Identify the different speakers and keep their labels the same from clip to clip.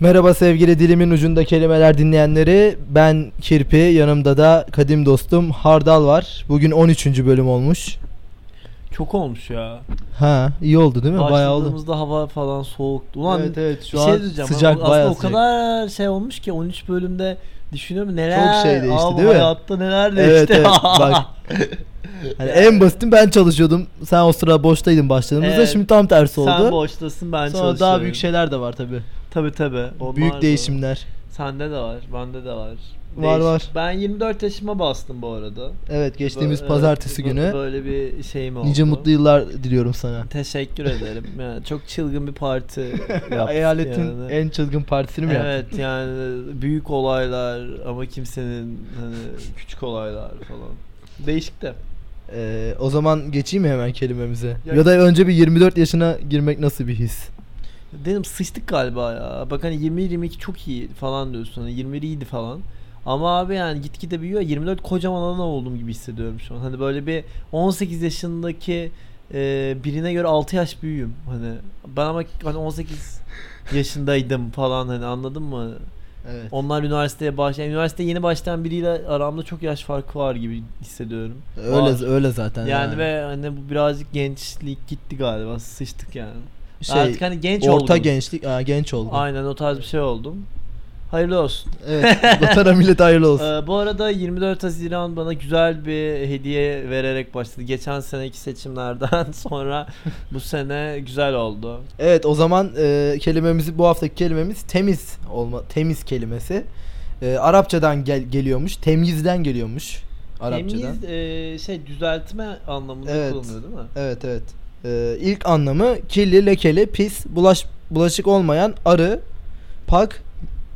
Speaker 1: Merhaba sevgili dilimin ucunda kelimeler dinleyenleri. Ben Kirpi, yanımda da kadim dostum Hardal var. Bugün 13. bölüm olmuş.
Speaker 2: Çok olmuş ya.
Speaker 1: Ha, iyi oldu değil mi? Bayağı oldu.
Speaker 2: Başladığımızda hava falan soğuktu. Ulan
Speaker 1: evet evet şu
Speaker 2: bir
Speaker 1: an
Speaker 2: şey diyeceğim.
Speaker 1: sıcak
Speaker 2: Aslında
Speaker 1: bayağı
Speaker 2: o
Speaker 1: sıcak.
Speaker 2: kadar şey olmuş ki 13 bölümde düşünüyorum neler.
Speaker 1: Çok şey değişti,
Speaker 2: Abi
Speaker 1: değil mi?
Speaker 2: Hayatta neler değişti.
Speaker 1: Evet evet bak. Hani en basitim ben çalışıyordum. Sen o sıra boştaydın başladığımızda.
Speaker 2: Evet.
Speaker 1: Şimdi tam tersi
Speaker 2: Sen
Speaker 1: oldu.
Speaker 2: boştasın ben
Speaker 1: Sonra daha büyük şeyler de var tabi.
Speaker 2: Tabi tabi.
Speaker 1: Büyük değişimler.
Speaker 2: Sende de var. Bende de var.
Speaker 1: Var, var.
Speaker 2: Ben 24 yaşıma bastım bu arada.
Speaker 1: Evet geçtiğimiz
Speaker 2: Bö-
Speaker 1: pazartesi
Speaker 2: evet, bö-
Speaker 1: günü.
Speaker 2: Böyle bir şeyim oldu.
Speaker 1: Nice mutlu yıllar diliyorum sana.
Speaker 2: Teşekkür ederim. Yani çok çılgın bir parti yaptık.
Speaker 1: Eyaletin
Speaker 2: yani.
Speaker 1: en çılgın partisini mi yaptın?
Speaker 2: Evet yani büyük olaylar ama kimsenin hani küçük olaylar falan. Değişik de.
Speaker 1: Ee, o zaman geçeyim mi hemen kelimemize?
Speaker 2: Ya-
Speaker 1: Ya da önce bir 24 yaşına girmek nasıl bir his?
Speaker 2: Dedim sıçtık galiba ya. Bak hani 21-22 çok iyi falan diyorsun. Hani 21 iyiydi falan. Ama abi yani gitgide büyüyor. 24 kocaman adam olduğum gibi hissediyorum şu an. Hani böyle bir 18 yaşındaki e, birine göre 6 yaş büyüğüm. Hani ben ama hani 18 yaşındaydım falan hani anladın mı?
Speaker 1: Evet.
Speaker 2: Onlar üniversiteye başlayan, üniversiteye yeni başlayan biriyle aramda çok yaş farkı var gibi hissediyorum.
Speaker 1: Öyle
Speaker 2: Var.
Speaker 1: öyle zaten.
Speaker 2: Yani ve hani bu birazcık gençlik gitti galiba. Sıçtık yani.
Speaker 1: şey,
Speaker 2: Artık hani genç
Speaker 1: orta
Speaker 2: oldum.
Speaker 1: gençlik, aa, genç oldu.
Speaker 2: Aynen o tarz bir şey oldum. Hayırlı olsun.
Speaker 1: Evet. Vatana millet hayırlı olsun.
Speaker 2: Ee, bu arada 24 Haziran bana güzel bir hediye vererek başladı. Geçen seneki seçimlerden sonra bu sene güzel oldu.
Speaker 1: evet, o zaman e, kelimemizi bu haftaki kelimemiz temiz olma temiz kelimesi. E, Arapçadan gel- geliyormuş. Temyizden geliyormuş Arapçadan.
Speaker 2: Temiz e, şey düzeltme anlamında
Speaker 1: Evet.
Speaker 2: kullanılıyor değil mi?
Speaker 1: Evet, evet. E, ilk anlamı kirli, lekeli, pis, bulaş bulaşık olmayan, arı, pak,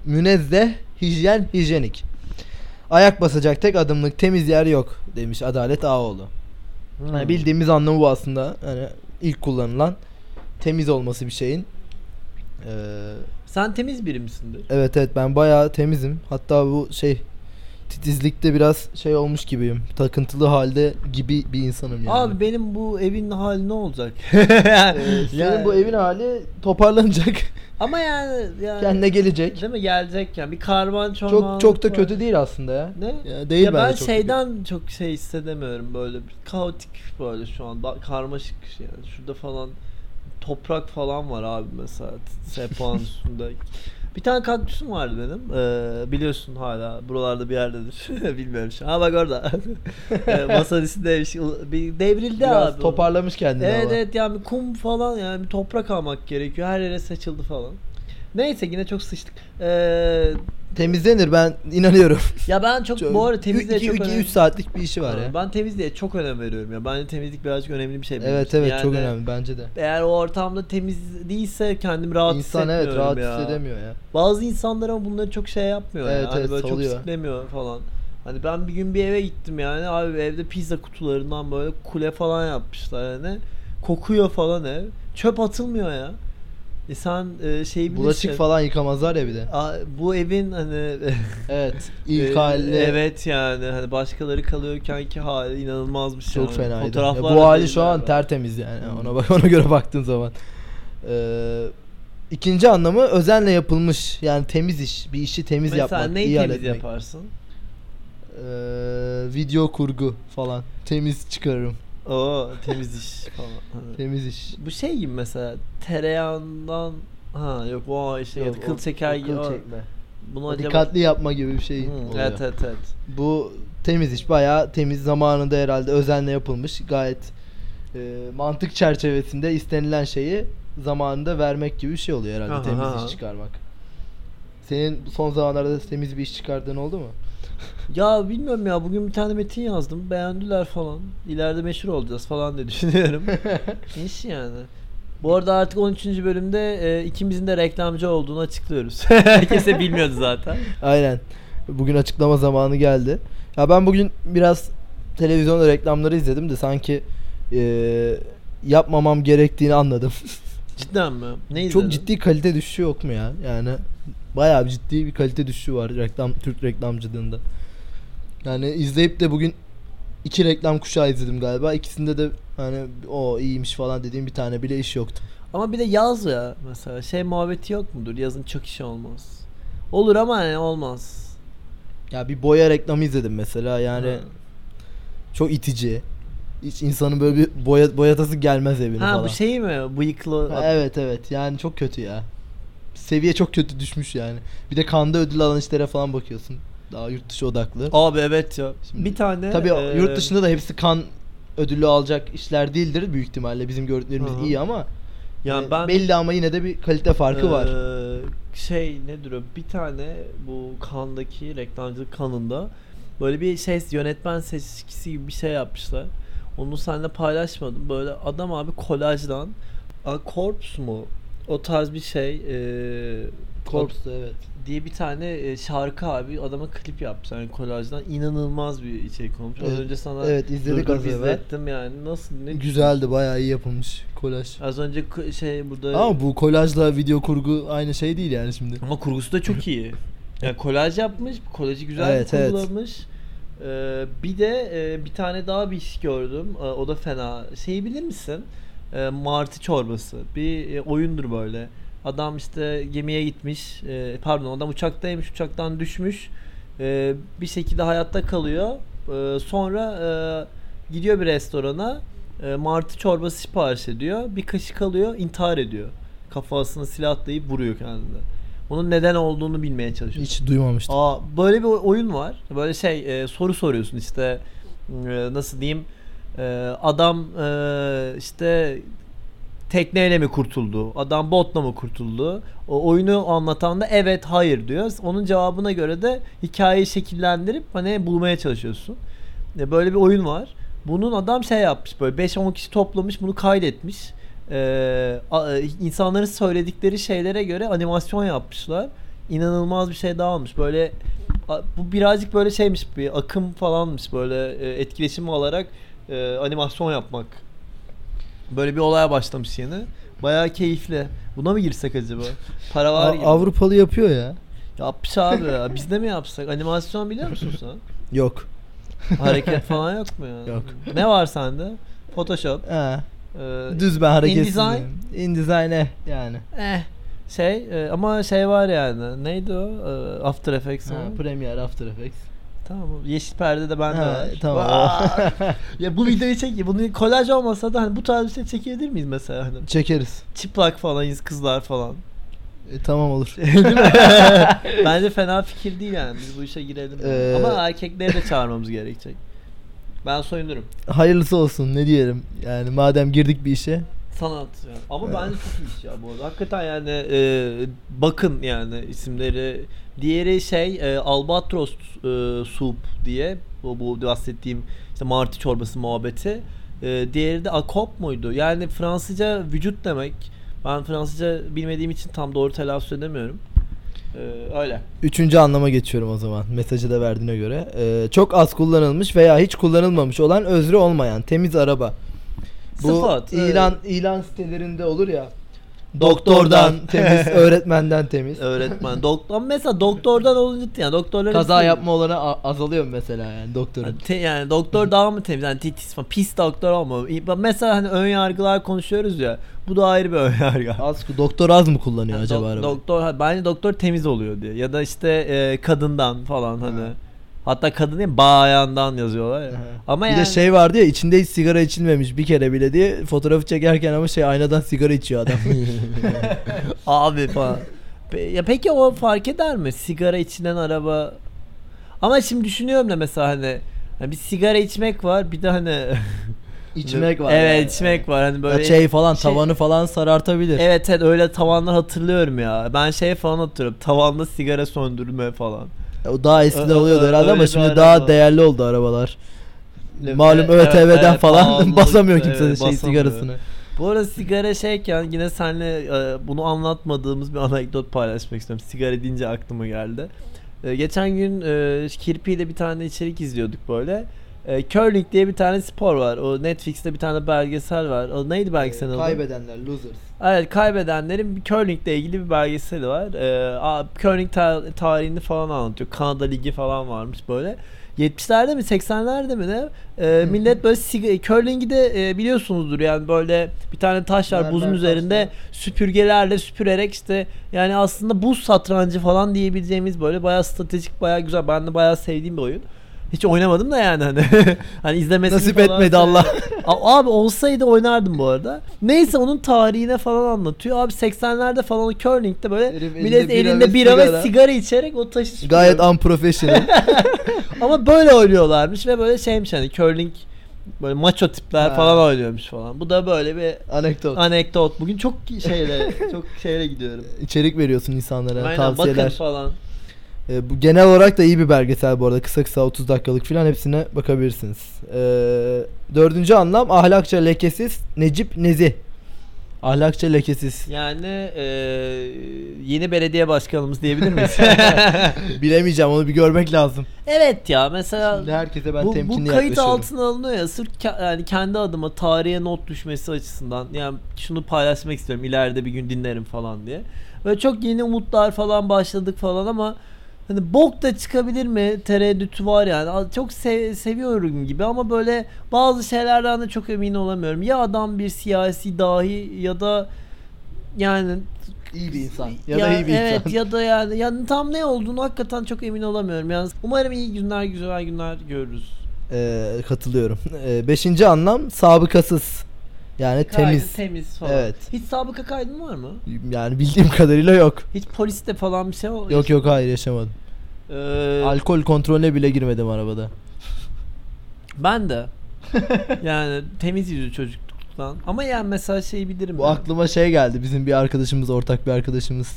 Speaker 1: münezzeh, hijyen, hijyenik. Ayak basacak tek adımlık temiz yer yok demiş Adalet Ağoğlu. Yani
Speaker 2: Hmm.
Speaker 1: bildiğimiz anlamı bu aslında. Yani ilk kullanılan temiz olması bir şeyin. Ee,
Speaker 2: Sen temiz biri misindir?
Speaker 1: evet evet ben bayağı temizim. Hatta bu şey titizlikte biraz şey olmuş gibiyim. Takıntılı halde gibi bir insanım yani.
Speaker 2: Abi benim bu evin hali ne olacak?
Speaker 1: Ee, senin
Speaker 2: Yani-
Speaker 1: bu evin hali toparlanacak.
Speaker 2: Ama yani, yani
Speaker 1: Kendine gelecek.
Speaker 2: değil mi gelecek yani bir karman çorman.
Speaker 1: Çok çok da kötü değil aslında ya.
Speaker 2: Ne?
Speaker 1: Ya değil
Speaker 2: ya ben
Speaker 1: bence çok
Speaker 2: şeyden çok şey hissedemiyorum böyle bir kaotik böyle şu an ba- karmaşık şey yani şurada falan toprak falan var abi mesela t- sehpanın üstünde. Bir tane kaktüsüm vardı benim. Ee, biliyorsun hala buralarda bir yerdedir. Bilmiyorum şu an. Ha bak orada. ee, masanın üstündeymiş. Bir devrildi
Speaker 1: Biraz
Speaker 2: abi. o.
Speaker 1: toparlamış kendini
Speaker 2: Evet
Speaker 1: ama.
Speaker 2: evet yani bir kum falan yani bir toprak almak gerekiyor. Her yere saçıldı falan. Neyse yine çok sıçtık. Ee,
Speaker 1: Temizlenir ben inanıyorum.
Speaker 2: ya ben çok, bu arada temizliğe çok önem-
Speaker 1: 3 saatlik bir işi var ya.
Speaker 2: Ben temizliğe çok önem veriyorum ya. Bence temizlik birazcık önemli bir şey. benim
Speaker 1: Evet
Speaker 2: için.
Speaker 1: evet
Speaker 2: Yani
Speaker 1: çok önemli bence de.
Speaker 2: Eğer o ortamda temiz değilse kendimi rahat
Speaker 1: İnsan
Speaker 2: hissetmiyorum
Speaker 1: evet rahat
Speaker 2: ya.
Speaker 1: hissedemiyor ya.
Speaker 2: Bazı insanlar ama bunları çok şey yapmıyor
Speaker 1: Evet,
Speaker 2: yani. Hani
Speaker 1: evet,
Speaker 2: böyle
Speaker 1: salıyor.
Speaker 2: çok siklemiyor falan. Hani ben bir gün bir eve gittim yani abi evde pizza kutularından böyle kule falan yapmışlar yani. Kokuyor falan ev. Çöp atılmıyor ya. E sen e, şey bilirsin.
Speaker 1: Bulaşık falan yıkamazlar ya bir de.
Speaker 2: Aa, bu evin hani
Speaker 1: Evet. İlk
Speaker 2: Ee,
Speaker 1: halde
Speaker 2: Evet yani hani başkaları kalıyorken ki hali inanılmaz bir şey.
Speaker 1: çok
Speaker 2: yani.
Speaker 1: fenaydı. Ya
Speaker 2: Fotoğraflar
Speaker 1: bu
Speaker 2: da
Speaker 1: hali
Speaker 2: değil
Speaker 1: şu an
Speaker 2: yani.
Speaker 1: tertemiz yani.
Speaker 2: Hmm.
Speaker 1: Ona bak ona göre baktığın zaman. Ee, ikinci anlamı özenle yapılmış. Yani temiz iş. Bir işi temiz
Speaker 2: Mesela
Speaker 1: yapmak,
Speaker 2: neyi
Speaker 1: iyi
Speaker 2: temiz
Speaker 1: halletmek.
Speaker 2: yaparsın?
Speaker 1: Ee, video kurgu falan. Temiz çıkarırım.
Speaker 2: Oo temiz iş falan. Hani.
Speaker 1: Temiz iş.
Speaker 2: Bu şey gibi mesela tereyağından ha yok o işte
Speaker 1: Yok,
Speaker 2: ya da kıl
Speaker 1: o-
Speaker 2: Şey, çeker
Speaker 1: o
Speaker 2: gibi.
Speaker 1: Kıl
Speaker 2: o-
Speaker 1: çekme.
Speaker 2: Bunu
Speaker 1: O
Speaker 2: acaba...
Speaker 1: dikkatli yapma gibi bir
Speaker 2: Hı,
Speaker 1: şey. oluyor.
Speaker 2: evet evet evet.
Speaker 1: Bu temiz iş bayağı temiz zamanında herhalde özenle yapılmış gayet e, mantık çerçevesinde istenilen şeyi zamanında vermek gibi bir şey oluyor herhalde
Speaker 2: Aha,
Speaker 1: temiz
Speaker 2: aha.
Speaker 1: iş çıkarmak. Senin son zamanlarda temiz bir iş çıkardığın oldu mu?
Speaker 2: Ya bilmiyorum ya bugün bir tane metin yazdım. Beğendiler falan. İleride meşhur olacağız falan diye düşünüyorum. İş yani. Bu arada artık 13. bölümde e, ikimizin de reklamcı olduğunu açıklıyoruz. Herkese bilmiyordu zaten.
Speaker 1: Aynen. Bugün açıklama zamanı geldi. Ya ben bugün biraz televizyonda reklamları izledim de sanki e, yapmamam gerektiğini anladım.
Speaker 2: Cidden mi? Neydi?
Speaker 1: Çok ciddi kalite düşüşü yok mu ya? Yani bayağı bir ciddi bir kalite düşüşü var reklam Türk reklamcılığında. Yani izleyip de bugün iki reklam kuşağı izledim galiba. İkisinde de hani o iyiymiş falan dediğim bir tane bile iş yoktu.
Speaker 2: Ama bir de yaz ya mesela şey muhabbeti yok mudur? Yazın çok işi olmaz. Olur ama yani olmaz.
Speaker 1: Ya bir boya reklamı izledim mesela yani
Speaker 2: Ha.
Speaker 1: çok itici. Hiç insanın böyle bir boya, boyatası gelmez evine
Speaker 2: Ha
Speaker 1: falan.
Speaker 2: bu şey mi? Bıyıklı.
Speaker 1: Ha, Evet evet yani çok kötü ya. Seviye çok kötü düşmüş yani. Bir de kanda ödül alan işlere falan bakıyorsun. Daha yurt dışı odaklı.
Speaker 2: Abi evet ya.
Speaker 1: Şimdi-
Speaker 2: bir tane
Speaker 1: Tabii
Speaker 2: e,
Speaker 1: yurt dışında da hepsi kan ödülü alacak işler değildir büyük ihtimalle. Bizim gördüklerimiz
Speaker 2: Hı hı.
Speaker 1: iyi ama
Speaker 2: yani
Speaker 1: e,
Speaker 2: ben
Speaker 1: belli ama yine de bir kalite farkı var.
Speaker 2: Ee, Şey nedir o? Bir tane bu kandaki reklamcılık kanında böyle bir şey yönetmen seçkisi gibi bir şey yapmışlar. Onu seninle paylaşmadım. Böyle adam abi kolajdan A, Corps mu? O tarz bir şey ee, Corps
Speaker 1: Korps'ta evet.
Speaker 2: diye bir tane e, şarkı abi adama klip yapmışlar yani kolajdan inanılmaz bir içerik olmuş. Az
Speaker 1: Evet,
Speaker 2: önce sana
Speaker 1: evet, izledik
Speaker 2: durdurup
Speaker 1: az evvel.
Speaker 2: izlettim yani. Nasıl ne
Speaker 1: Güzeldi bayağı iyi yapılmış kolaj.
Speaker 2: Az önce k- şey burada
Speaker 1: Ama bu kolajla video kurgu aynı şey değil yani şimdi.
Speaker 2: Ama kurgusu da çok iyi. Yani kolaj yapmış, kolajı güzel
Speaker 1: Evet, evet.
Speaker 2: kurgulamış. Ee, bir de e, bir tane daha bir iş gördüm. Ee, o da fena. Şeyi bilir misin? Ee, martı çorbası. Bir e, oyundur böyle. Adam işte gemiye gitmiş. Ee, pardon adam uçaktaymış. Uçaktan düşmüş. Ee, bir şekilde hayatta kalıyor. Ee, sonra e, gidiyor bir restorana. E, martı çorbası sipariş ediyor. Bir kaşık alıyor. intihar ediyor. Kafasına silahlayıp vuruyor kendini. Bunun neden olduğunu bilmeye çalışıyor.
Speaker 1: Hiç duymamıştım.
Speaker 2: Aa, böyle bir oy- oyun var. Böyle şey e, soru soruyorsun işte e, nasıl diyeyim e, adam e, işte tekneyle mi kurtuldu? Adam botla mı kurtuldu? O oyunu anlatan da evet hayır diyor. Onun cevabına göre de hikayeyi şekillendirip hani bulmaya çalışıyorsun. E, Böyle bir oyun var. Bunun adam şey yapmış böyle 5-10 kişi toplamış bunu kaydetmiş. E, a- e, insanların söyledikleri şeylere göre animasyon yapmışlar. İnanılmaz bir şey daha olmuş. Böyle a- bu birazcık böyle şeymiş bir akım falanmış böyle e, etkileşim alarak e, animasyon yapmak. Böyle bir olaya başlamış yeni. Bayağı keyifli. Buna mı girsek acaba? Para var gibi.
Speaker 1: A- Avrupalı yapıyor ya.
Speaker 2: Yapmış abi ya. Biz de mi yapsak? Animasyon biliyor musun sen?
Speaker 1: Yok.
Speaker 2: Hareket falan yok mu ya?
Speaker 1: Yok.
Speaker 2: Ne var sende? Photoshop.
Speaker 1: Ha.
Speaker 2: E,
Speaker 1: Düz ben hareketsiz.
Speaker 2: InDesign?
Speaker 1: diyeyim. InDesign'e yani.
Speaker 2: eh, Şey e, ama şey var yani. Neydi o? E, After Effects
Speaker 1: Ha,
Speaker 2: mı?
Speaker 1: Premiere, After Effects.
Speaker 2: Tamam. Yeşil perde de bende
Speaker 1: Ha,
Speaker 2: var.
Speaker 1: tamam.
Speaker 2: Vaa! ya bu videoyu çek. Bunu kolaj olmasa da hani bu tarz bir şey çekebilir miyiz mesela? Hani
Speaker 1: Çekeriz.
Speaker 2: çıplak falan kızlar falan.
Speaker 1: E, tamam olur.
Speaker 2: Değil mi? Bence fena fikir değil yani. Biz bu işe girelim. yani.
Speaker 1: Ee,
Speaker 2: Ama erkekleri de çağırmamız gerekecek. Ben soyunurum.
Speaker 1: Hayırlısı olsun ne diyelim. Yani madem girdik bir işe.
Speaker 2: Sanat yani. Ama bence çok iyi iş ya bu arada. Hakikaten yani e, bakın yani isimleri. Diğeri şey e, Albatros e, Soup diye bu, bu bahsettiğim işte martı çorbası muhabbeti. E, diğeri de Akop muydu? Yani Fransızca vücut demek. Ben Fransızca bilmediğim için tam doğru telaffuz edemiyorum. E, öyle.
Speaker 1: Üçüncü anlama geçiyorum o zaman. Mesajı da verdiğine göre. E, çok az kullanılmış veya hiç kullanılmamış olan özrü olmayan temiz araba. Bu
Speaker 2: Sıfat, evet.
Speaker 1: ilan ilan sitelerinde olur ya.
Speaker 2: Doktordan.
Speaker 1: Doktordan temiz, öğretmenden temiz.
Speaker 2: e, öğretmen. Doktor mesela doktordan olunca yani doktorlar
Speaker 1: Kaza yapma olanı a- azalıyor mu mesela yani doktorun?
Speaker 2: Yani, te- yani doktor daha mı temiz? Yani titiz falan. Pis doktor olma. İyi, bak Mesela hani ön yargılar konuşuyoruz ya. Bu da ayrı bir ön yargı.
Speaker 1: Az, doktor az mı kullanıyor
Speaker 2: Yani
Speaker 1: acaba
Speaker 2: dok-
Speaker 1: araba?
Speaker 2: doktor ha, bence doktor temiz oluyor diye. Ya da işte e, kadından falan hani.
Speaker 1: Ha.
Speaker 2: Hatta kadın değil bayandan yazıyorlar ya.
Speaker 1: Aha.
Speaker 2: Ama
Speaker 1: bir
Speaker 2: yani
Speaker 1: de şey vardı ya içinde hiç sigara içilmemiş bir kere bile diye fotoğrafı çekerken ama şey aynadan sigara içiyor adam.
Speaker 2: abi falan. Pe- ya peki o fark eder mi? Sigara içilen araba. Ama şimdi düşünüyorum da mesela hani, hani bir sigara içmek var bir de hani
Speaker 1: içmek var.
Speaker 2: Evet
Speaker 1: yani.
Speaker 2: içmek var. Hani
Speaker 1: Ya
Speaker 2: böyle
Speaker 1: şey falan
Speaker 2: şey-
Speaker 1: tavanı falan sarartabilir.
Speaker 2: Evet evet öyle tavanlar hatırlıyorum ya. Ben şey falan hatırlıyorum. Tavanda sigara söndürme falan.
Speaker 1: Ya O daha eskiden
Speaker 2: Ö- ö-
Speaker 1: oluyordu
Speaker 2: ö-
Speaker 1: herhalde
Speaker 2: öyle
Speaker 1: ama
Speaker 2: bir
Speaker 1: şimdi
Speaker 2: araba.
Speaker 1: daha değerli oldu arabalar.
Speaker 2: Evet,
Speaker 1: Malum
Speaker 2: evet,
Speaker 1: ÖTV'den falan
Speaker 2: evet, pahalılık,
Speaker 1: basamıyor kimse
Speaker 2: evet,
Speaker 1: şey
Speaker 2: basamıyor.
Speaker 1: sigarasını.
Speaker 2: Bu arada sigara şeyken yine seninle e, bunu anlatmadığımız bir anekdot paylaşmak istiyorum. Sigara deyince aklıma geldi. E, Geçen gün e, Kirpi ile bir tane içerik izliyorduk böyle. E, curling diye bir tane spor var. O Netflix'te bir tane belgesel var. O neydi belgeselin adı?
Speaker 1: Kaybedenler losers.
Speaker 2: Evet kaybedenlerin bir curlingle ilgili bir belgeseli var. Ee, a- curling ta- tarihini falan anlatıyor. Kanada Ligi falan varmış böyle. 70'lerde mi 80'lerde mi ne? Ee,
Speaker 1: Hı.
Speaker 2: millet böyle siga- curling'i de e, biliyorsunuzdur yani böyle bir tane taş var
Speaker 1: Berber
Speaker 2: buzun
Speaker 1: taş
Speaker 2: üzerinde
Speaker 1: var.
Speaker 2: süpürgelerle süpürerek işte yani aslında buz satrancı falan diyebileceğimiz böyle bayağı stratejik bayağı güzel ben de bayağı sevdiğim bir oyun. Hiç oynamadım da yani hani. hani izlemesini
Speaker 1: Nasip
Speaker 2: falan
Speaker 1: etmedi Allah.
Speaker 2: A- Abi olsaydı oynardım bu arada. Neyse onun tarihine falan anlatıyor. Abi 80'lerde falan o curling'de böyle
Speaker 1: Herif elinde
Speaker 2: millet
Speaker 1: bira
Speaker 2: elinde
Speaker 1: ve
Speaker 2: bira ve
Speaker 1: sigara.
Speaker 2: sigara içerek o taşı sürüyor.
Speaker 1: Gayet unprofessional.
Speaker 2: Ama böyle oynuyorlarmış ve böyle şeymiş hani curling böyle maço tipler
Speaker 1: Ha.
Speaker 2: falan oynuyormuş falan. Bu da böyle bir
Speaker 1: Anekdot.
Speaker 2: anekdot. Bugün çok şeyle çok şeyle gidiyorum.
Speaker 1: İçerik veriyorsun insanlara,
Speaker 2: Aynen bakın
Speaker 1: tavsiyeler.
Speaker 2: falan.
Speaker 1: Ee, bu genel olarak da iyi bir belgesel bu arada. Kısa kısa 30 dakikalık falan hepsine bakabilirsiniz. Ee, dördüncü anlam ahlakça lekesiz Necip Nezi. Ahlakça lekesiz.
Speaker 2: Yani e, yeni belediye başkanımız diyebilir miyiz?
Speaker 1: Bilemeyeceğim onu bir görmek lazım.
Speaker 2: evet ya mesela
Speaker 1: Şimdi herkese ben
Speaker 2: bu, bu
Speaker 1: temkinli
Speaker 2: kayıt
Speaker 1: yaklaşıyorum.
Speaker 2: altına alınıyor ya sırf ke- yani kendi adıma tarihe not düşmesi açısından yani şunu paylaşmak istiyorum ileride bir gün dinlerim falan diye. Böyle çok yeni umutlar falan başladık falan ama hani bok da çıkabilir mi tereddütü var yani. Az- Çok se- seviyorum gibi ama böyle bazı şeylerden de çok emin olamıyorum. Ya adam bir siyasi dahi ya da yani
Speaker 1: İyi bir insan. Ya, da iyi bir
Speaker 2: evet,
Speaker 1: insan.
Speaker 2: ya da yani, yani tam ne olduğunu hakikaten çok emin olamıyorum. Yani umarım iyi günler güzel günler görürüz.
Speaker 1: Ee, katılıyorum. Ee, beşinci anlam sabıkasız. Yani
Speaker 2: Kaydı,
Speaker 1: temiz.
Speaker 2: temiz falan.
Speaker 1: Evet.
Speaker 2: Hiç sabıka kaydın var mı?
Speaker 1: Yani bildiğim kadarıyla yok.
Speaker 2: Hiç poliste falan bir şey ol-
Speaker 1: Yok yok hayır yaşamadım.
Speaker 2: Ee,
Speaker 1: Alkol kontrolüne bile girmedim arabada.
Speaker 2: ben de. yani temiz yüzlü çocukluktan. Ama yani mesela şeyi bilirim.
Speaker 1: Bu
Speaker 2: yani.
Speaker 1: aklıma şey geldi. Bizim bir arkadaşımız, ortak bir arkadaşımız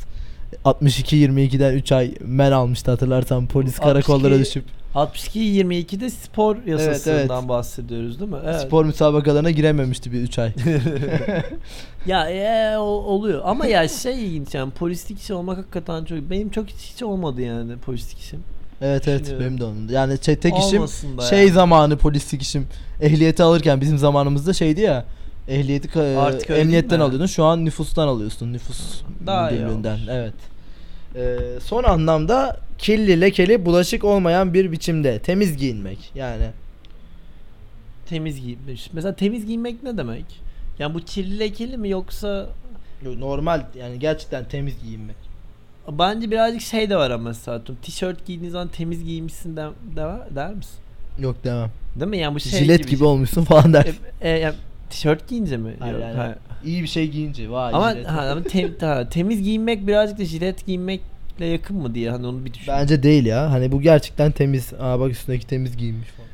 Speaker 1: 62-22'den 3 ay men almıştı hatırlarsan polis
Speaker 2: 62
Speaker 1: karakollara düşüp
Speaker 2: 62-22'de spor yasasından bahsediyoruz değil mi? Evet.
Speaker 1: spor müsabakalarına girememişti bir 3 ay.
Speaker 2: Ya ee, o- oluyor. Ama ya şey ilginç yani polislik işi olmak hakikaten çok. Benim çok hiç, hiç olmadı yani polislik işim.
Speaker 1: evet evet
Speaker 2: Düşünüyorum.
Speaker 1: benim de onun. Yani şey- tek işim
Speaker 2: Olmasın da
Speaker 1: şey
Speaker 2: yani.
Speaker 1: zamanı polislik işim. Ehliyeti alırken bizim zamanımızda şeydi ya. Ehliyeti ka-
Speaker 2: Artık öyle değil
Speaker 1: emniyetten
Speaker 2: mi?
Speaker 1: alıyordun. Şu an nüfustan alıyorsun. Nüfus
Speaker 2: Daha iyi
Speaker 1: müdürlüğünden.
Speaker 2: olmuş.
Speaker 1: Evet. Ee, son anlamda kirli lekeli bulaşık olmayan bir biçimde temiz giyinmek. Yani
Speaker 2: Temiz giyinmiş. Mesela temiz giyinmek ne demek? Yani bu kirli lekeli mi yoksa
Speaker 1: Yo, normal yani gerçekten temiz giyinmek.
Speaker 2: Bence birazcık şey de var ama mesela atıyorum, tişört giydiğin zaman temiz giymişsin de, de- der misin?
Speaker 1: Yok demem.
Speaker 2: Değil mi? Yani bu şey
Speaker 1: Jilet gibi, olmuşsun falan der.
Speaker 2: E, e, yani tişört giyince mi?
Speaker 1: Hayır,
Speaker 2: Yok,
Speaker 1: hayır.
Speaker 2: hayır.
Speaker 1: İyi bir şey giyince vay
Speaker 2: Ama,
Speaker 1: jilet.
Speaker 2: ha, ama tem- ha, temiz giyinmek birazcık da jilet giyinmekle yakın mı diye hani onu bir düşün.
Speaker 1: Bence değil ya. Hani bu gerçekten temiz. Aa bak üstündeki temiz giyinmiş falan.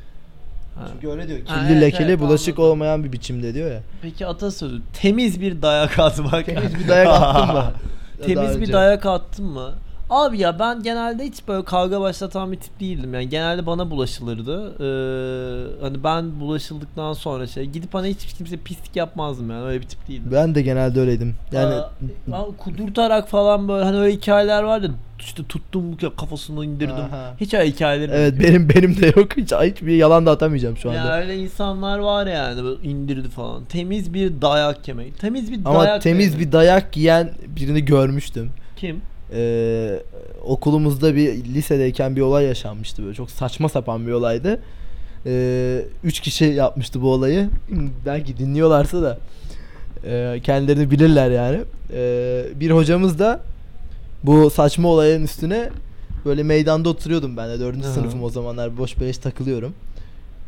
Speaker 2: Ha.
Speaker 1: Çünkü öyle diyor. Kirli
Speaker 2: Ha, evet,
Speaker 1: lekeli
Speaker 2: evet,
Speaker 1: bulaşık
Speaker 2: anladım.
Speaker 1: olmayan bir biçimde diyor ya.
Speaker 2: Peki atasözü temiz bir dayak atmak.
Speaker 1: Temiz bir dayak attın mı? Daha
Speaker 2: Temiz bir
Speaker 1: önce.
Speaker 2: dayak attın mı? Abi ya ben genelde hiç böyle kavga başlatan bir tip değildim. Yani genelde bana bulaşılırdı. Ee, hani ben bulaşıldıktan sonra şey gidip hani hiç kimse pislik yapmazdım yani öyle bir tip değildim.
Speaker 1: Ben de genelde öyleydim. Yani
Speaker 2: Aa, a- kudurtarak falan böyle hani öyle hikayeler vardı. İşte tuttum ya kafasını indirdim.
Speaker 1: Aha.
Speaker 2: Hiç öyle hikayeler
Speaker 1: evet benim benim de yok. Hiç hiçbir yalan da atamayacağım şu
Speaker 2: Ya
Speaker 1: anda.
Speaker 2: öyle insanlar var yani böyle indirdi falan. Temiz bir dayak yemek. Temiz bir
Speaker 1: Ama
Speaker 2: dayak
Speaker 1: temiz
Speaker 2: yemek.
Speaker 1: bir dayak yiyen birini görmüştüm.
Speaker 2: kim?
Speaker 1: Ee, okulumuzda bir lisedeyken bir olay yaşanmıştı böyle çok saçma sapan bir olaydı. Ee, üç kişi yapmıştı bu olayı. Belki dinliyorlarsa da e, kendilerini bilirler yani. Ee, bir hocamız da bu saçma olayın üstüne böyle meydanda oturuyordum ben de dördüncü
Speaker 2: Aha.
Speaker 1: sınıfım o zamanlar boş beleş takılıyorum.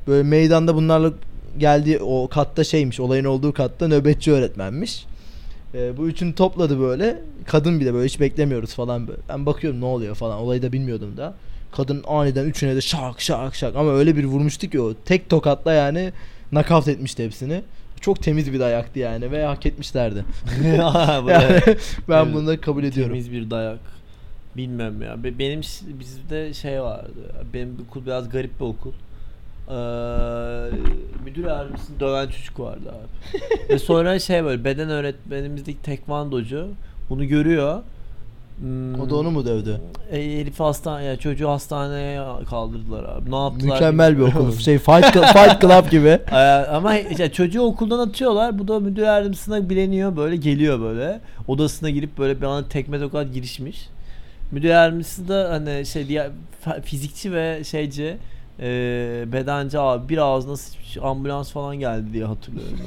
Speaker 1: Böyle meydanda bunlarla geldi o katta şeymiş olayın olduğu katta nöbetçi öğretmenmiş. Ee, bu üçünü topladı böyle. Kadın bir de böyle hiç beklemiyoruz falan. böyle. Ben bakıyorum ne oluyor falan. Olayı da bilmiyordum da. Kadın aniden üçüne de şak şak şak ama öyle bir vurmuştu ki o tek tokatla yani nakavt etmişti hepsini. Çok temiz bir dayaktı yani ve hak etmişlerdi.
Speaker 2: Ha, bu
Speaker 1: Yani
Speaker 2: da-
Speaker 1: ben
Speaker 2: Evet.
Speaker 1: bunu da kabul ediyorum.
Speaker 2: Temiz bir dayak. Bilmem ya. Be- Benim ş- bizde şey vardı. Benim bir okul biraz garip bir okul. Ee, müdür yardımcısını döven çocuk vardı abi. Ve sonra şey böyle beden öğretmenimizdeki tekvandocu bunu görüyor. Hmm,
Speaker 1: O da onu mu dövdü?
Speaker 2: E, herifi hastaneye, çocuğu hastaneye kaldırdılar abi. Ne yaptılar?
Speaker 1: Mükemmel bir
Speaker 2: bilmiyorum.
Speaker 1: okul. Şey Fight, Cl- Fight Club gibi.
Speaker 2: Ee, ama işte çocuğu okuldan atıyorlar. Bu da müdür yardımcısına bileniyor böyle geliyor böyle. Odasına girip böyle bir anda tekme tokat girişmiş. Müdür yardımcısı da hani şey diğer fa- fizikçi ve şeyci e, bedenci abi bir ağzına sıçmış ambulans falan geldi diye hatırlıyorum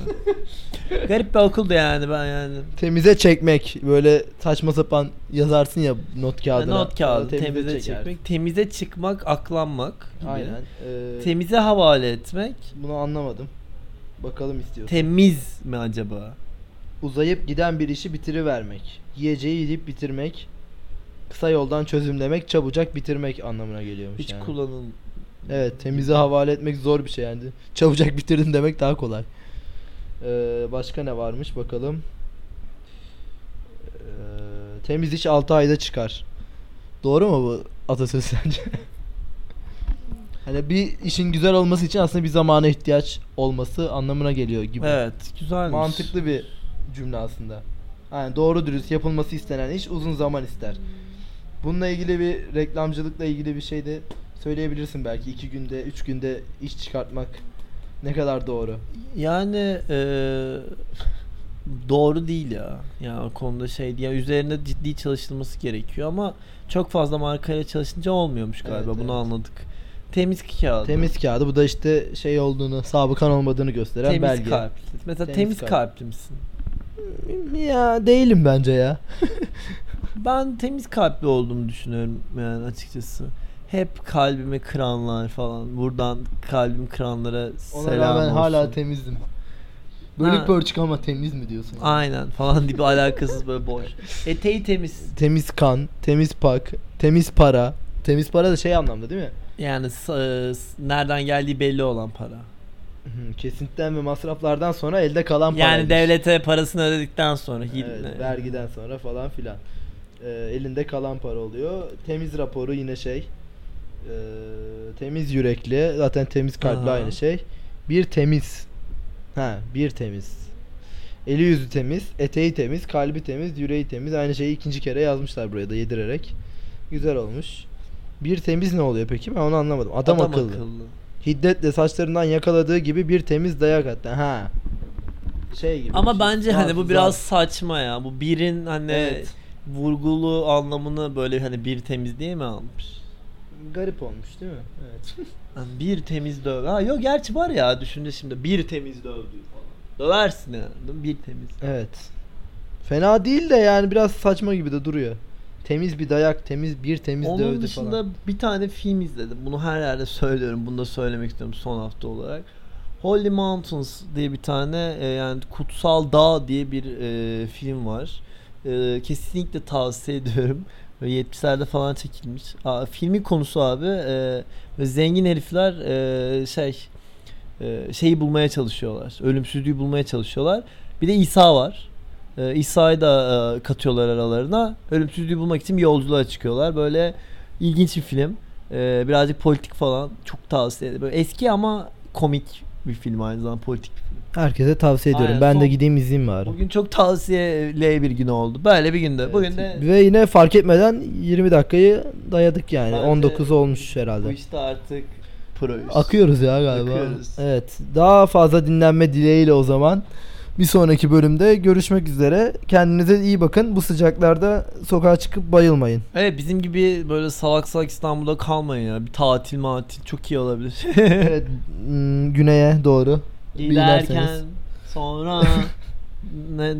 Speaker 2: ben. Garip bir okuldu yani ben yani.
Speaker 1: Temize çekmek. Böyle saçma sapan yazarsın ya not kağıdına.
Speaker 2: not kağıdı temize,
Speaker 1: çeker.
Speaker 2: çekmek, temize çıkmak, aklanmak gibi.
Speaker 1: Aynen. Ee,
Speaker 2: Temize havale etmek.
Speaker 1: bunu anlamadım. Bakalım istiyorsun.
Speaker 2: Temiz mi acaba?
Speaker 1: Uzayıp giden bir işi bitirivermek. Yiyeceği yiyip bitirmek. Kısa yoldan çözümlemek, çabucak bitirmek anlamına geliyormuş
Speaker 2: Hiç
Speaker 1: yani.
Speaker 2: kullanılmıyor.
Speaker 1: Evet temize havale etmek zor bir şey yani. Çabucak bitirdin demek daha kolay. Ee, başka ne varmış bakalım. Ee, temiz iş 6 ayda çıkar. Doğru mu bu atasözü sence? hani bir işin güzel olması için aslında bir zamana ihtiyaç olması anlamına geliyor gibi.
Speaker 2: Evet, güzelmiş.
Speaker 1: Mantıklı bir cümle aslında. Yani doğru dürüst yapılması istenen iş uzun zaman ister. Bununla ilgili bir reklamcılıkla ilgili bir şey de söyleyebilirsin belki. iki günde, üç günde iş çıkartmak ne kadar doğru.
Speaker 2: Yani e, doğru değil ya. Ya o konuda şey diye üzerine ciddi çalışılması gerekiyor ama çok fazla markayla çalışınca olmuyormuş galiba.
Speaker 1: Evet,
Speaker 2: Bunu
Speaker 1: evet.
Speaker 2: anladık. Temiz kağıdı.
Speaker 1: Temiz kağıdı bu da işte şey olduğunu, sabıkan olmadığını gösteren
Speaker 2: Temiz
Speaker 1: belge.
Speaker 2: kalpli. Mesela temiz,
Speaker 1: Temiz kalp.
Speaker 2: kalpli misin?
Speaker 1: Ya değilim bence ya.
Speaker 2: Ben temiz kalpli olduğumu düşünüyorum yani açıkçası. Hep kalbimi kıranlar falan. Buradan kalbim kıranlara
Speaker 1: Ona
Speaker 2: selam
Speaker 1: rağmen
Speaker 2: olsun.
Speaker 1: hala temizdim. Bölük
Speaker 2: Ha.
Speaker 1: pörçük ama temiz mi diyorsun?
Speaker 2: Aynen falan gibi alakasız böyle boş. Eteği temiz.
Speaker 1: Temiz kan, temiz pak, temiz para. Temiz para da şey anlamda değil mi?
Speaker 2: Yani s- e, s- nereden geldiği belli olan para.
Speaker 1: Hı, Kesintiden ve masraflardan sonra elde kalan paraymış.
Speaker 2: yani devlete parasını ödedikten sonra hil-
Speaker 1: Evet, vergiden sonra falan filan. Ee, elinde kalan para oluyor. Temiz raporu yine şey. ee, temiz yürekli. Zaten temiz kalpli
Speaker 2: Aha.
Speaker 1: aynı şey. Bir temiz. Ha, bir temiz. Eli yüzü temiz, eteği temiz, kalbi temiz, yüreği temiz. Aynı şeyi ikinci kere yazmışlar buraya da yedirerek. Güzel olmuş. Bir temiz ne oluyor peki? Ben onu anlamadım. Adam, akıllı. Hiddetle saçlarından yakaladığı gibi bir temiz dayak attı. Ha. Şey gibi.
Speaker 2: Ama bence hani bu
Speaker 1: Hafıza.
Speaker 2: biraz saçma ya. Bu birin hani
Speaker 1: Evet.
Speaker 2: vurgulu anlamını böyle hani bir temiz diye mi almış?
Speaker 1: garip olmuş değil mi? Evet.
Speaker 2: Hani bir temiz döv. Ha yok gerçi var ya düşünce şimdi bir temiz dövdü falan. Döversin yani. değil mi? Bir temiz.
Speaker 1: evet. Fena değil de yani biraz saçma gibi de duruyor. Temiz bir dayak, temiz bir temiz
Speaker 2: Onun
Speaker 1: dövdü
Speaker 2: dışında
Speaker 1: falan.
Speaker 2: bir tane film izledim. Bunu her yerde söylüyorum. Bunu da söylemek istiyorum son hafta olarak. Holy Mountains diye bir tane e, yani Kutsal Dağ diye bir e, film var. E, kesinlikle tavsiye ediyorum. Böyle 70'lerde falan çekilmiş. Aa, filmin konusu abi e, böyle zengin herifler e, şey e, şeyi bulmaya çalışıyorlar. Ölümsüzlüğü bulmaya çalışıyorlar. Bir de İsa var. E, İsa'yı da e, katıyorlar aralarına. Ölümsüzlüğü bulmak için bir yolculuğa çıkıyorlar. Böyle ilginç bir film. E, birazcık politik falan. Çok tavsiye ederim. Böyle eski ama komik bir film aynı zamanda politik bir film.
Speaker 1: Herkese tavsiye ediyorum.
Speaker 2: Aynen,
Speaker 1: ben de
Speaker 2: son-
Speaker 1: gideyim izleyeyim bari.
Speaker 2: Bugün çok tavsiyeli bir gün oldu. Böyle bir günde.
Speaker 1: Evet.
Speaker 2: Bugün de
Speaker 1: Ve yine fark etmeden 20 dakikayı dayadık yani.
Speaker 2: Bence
Speaker 1: 19 olmuş herhalde.
Speaker 2: bu işte artık proyuz.
Speaker 1: Akıyoruz ya galiba.
Speaker 2: Akıyoruz.
Speaker 1: Evet. Daha fazla dinlenme dileğiyle o zaman. Bir sonraki bölümde görüşmek üzere. Kendinize iyi bakın. Bu sıcaklarda sokağa çıkıp bayılmayın.
Speaker 2: Evet bizim gibi böyle salak salak İstanbul'da kalmayın ya. Bir tatil matil çok iyi olabilir.
Speaker 1: Evet. m, Hmm, Güneye doğru.
Speaker 2: Giderken
Speaker 1: Giderseniz.
Speaker 2: sonra ne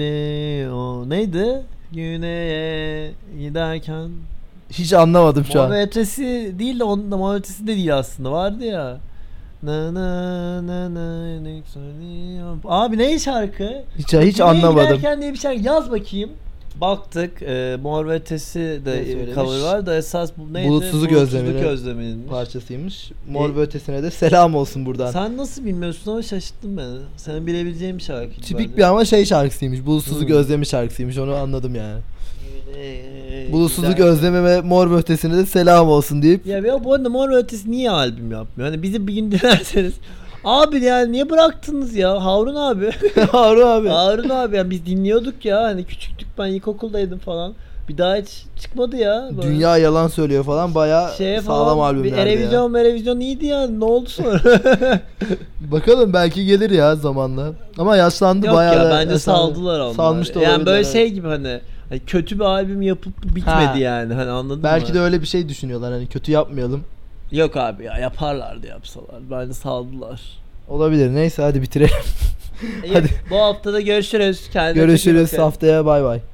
Speaker 2: yükseliyor. Neydi? Güneye giderken.
Speaker 1: Hiç anlamadım şu
Speaker 2: Mor
Speaker 1: an.
Speaker 2: ve ötesi değil de onun da mor ve ötesi de değil aslında. Vardı ya. Na na na na ne yükseliyor. Abi ne şarkı?
Speaker 1: Hiç, hiç
Speaker 2: Güneye
Speaker 1: anlamadım.
Speaker 2: Giderken diye bir şarkı yaz bakayım. Baktık e, Mor ve Ötesi
Speaker 1: Ne
Speaker 2: de
Speaker 1: söylemiş?
Speaker 2: cover var da esas bu neydi?
Speaker 1: Bulutsuzluk Özlemi.
Speaker 2: Özlemi'nin.
Speaker 1: Parçasıymış. Mor
Speaker 2: E-
Speaker 1: ve ötesine de selam olsun buradan.
Speaker 2: Sen nasıl bilmiyorsun ama şaşırttın beni. Senin bilebileceğin bir şarkı.
Speaker 1: Tipik bir ama şey şarkısıymış. Bulutsuzluk
Speaker 2: Hmm.
Speaker 1: özlemi şarkısıymış. Onu anladım yani.
Speaker 2: E,
Speaker 1: Bulutsuzluk özlemi ve mor ve ötesine de selam olsun deyip
Speaker 2: Ya ben bu arada Mor ve Ötesi niye albüm yapmıyor? Hani bizi bir gün dinlerseniz. Abi yani niye bıraktınız ya? Harun abi.
Speaker 1: Harun abi.
Speaker 2: Harun abi yani biz dinliyorduk ya. Hani küçüktük ben ilkokuldaydım falan. Bir daha hiç çıkmadı ya. Böyle
Speaker 1: Dünya yalan söylüyor falan bayağı
Speaker 2: şeye
Speaker 1: sağlam
Speaker 2: falan, bir
Speaker 1: albümlerdi ya.
Speaker 2: Erevizyon, Erevizyon iyiydi ya. Ne oldu sonra?
Speaker 1: Bakalım belki gelir ya zamanla. Ama yaşlandı
Speaker 2: Yok
Speaker 1: bayağı.
Speaker 2: ya
Speaker 1: da-
Speaker 2: bence
Speaker 1: yaşlandı.
Speaker 2: saldılar onları.
Speaker 1: Salmış da
Speaker 2: yani
Speaker 1: olabilir,
Speaker 2: böyle
Speaker 1: evet.
Speaker 2: şey gibi hani, hani kötü bir albüm yapıp bitmedi
Speaker 1: Ha.
Speaker 2: yani hani anladın mı?
Speaker 1: Belki de öyle bir şey düşünüyorlar hani kötü yapmayalım.
Speaker 2: Yok abi ya yaparlardı yapsalar. Bence saldılar.
Speaker 1: Olabilir. Neyse hadi bitirelim.
Speaker 2: İyi,
Speaker 1: Hadi.
Speaker 2: Bu hafta da görüşürüz. Kendinize çok iyi
Speaker 1: Görüşürüz
Speaker 2: bakın.
Speaker 1: haftaya bay bay.